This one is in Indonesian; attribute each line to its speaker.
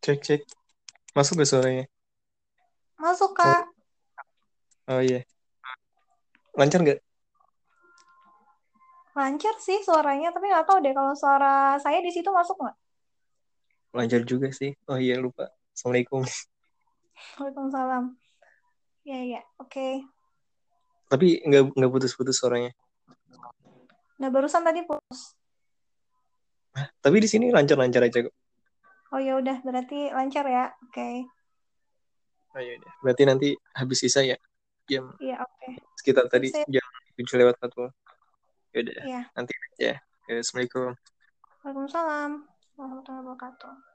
Speaker 1: Cek, cek. Masuk gak suaranya?
Speaker 2: Masuk, Kak.
Speaker 1: Oh iya. Lancar gak?
Speaker 2: Lancar sih suaranya, tapi nggak tahu deh kalau suara saya di situ masuk nggak?
Speaker 1: Lancar juga sih. Oh iya, lupa. Assalamualaikum.
Speaker 2: Waalaikumsalam. Ya, ya. Oke.
Speaker 1: Tapi nggak nggak putus-putus suaranya.
Speaker 2: Nah, barusan tadi putus.
Speaker 1: Tapi di sini lancar-lancar aja kok.
Speaker 2: Oh ya udah, berarti lancar ya. Oke.
Speaker 1: Oh iya, iya. Berarti nanti habis sisa ya? Jam
Speaker 2: Iya, oke.
Speaker 1: sekitar tadi
Speaker 2: Sip.
Speaker 1: jam 7 lewat 1. Yaudah,
Speaker 2: Iya.
Speaker 1: nanti aja. Ya, Assalamualaikum.
Speaker 2: Waalaikumsalam. Warahmatullahi wabarakatuh.